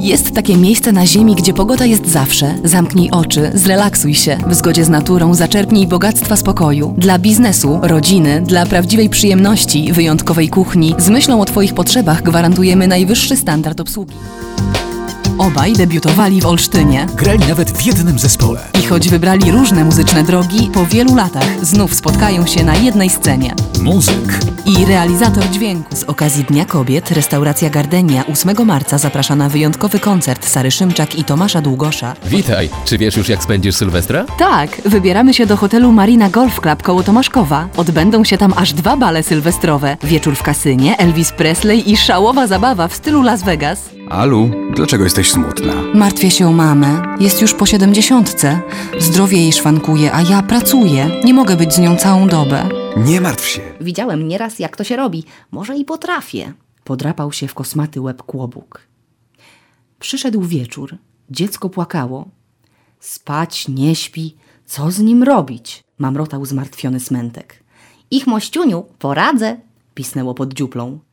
Jest takie miejsce na Ziemi, gdzie pogoda jest zawsze. Zamknij oczy, zrelaksuj się. W zgodzie z naturą zaczerpnij bogactwa spokoju. Dla biznesu, rodziny, dla prawdziwej przyjemności, wyjątkowej kuchni, z myślą o Twoich potrzebach gwarantujemy najwyższy standard obsługi. Obaj debiutowali w Olsztynie. Grali nawet w jednym zespole. I choć wybrali różne muzyczne drogi, po wielu latach znów spotkają się na jednej scenie. Muzyk, i realizator dźwięku. Z okazji Dnia Kobiet restauracja Gardenia 8 marca zaprasza na wyjątkowy koncert Sary Szymczak i Tomasza Długosza. Witaj, czy wiesz już jak spędzisz Sylwestra? Tak, wybieramy się do hotelu Marina Golf Club koło Tomaszkowa. Odbędą się tam aż dwa bale sylwestrowe. Wieczór w kasynie, Elvis Presley i szałowa zabawa w stylu Las Vegas. Alu, dlaczego jesteś smutna? Martwię się o mamę. Jest już po siedemdziesiątce. Zdrowie jej szwankuje, a ja pracuję. Nie mogę być z nią całą dobę. Nie martw się. Widziałem nieraz, jak to się robi. Może i potrafię. Podrapał się w kosmaty łeb kłobuk. Przyszedł wieczór. Dziecko płakało. Spać, nie śpi. Co z nim robić? Mamrotał zmartwiony smętek. Ich mościuniu, poradzę, pisnęło pod dziuplą.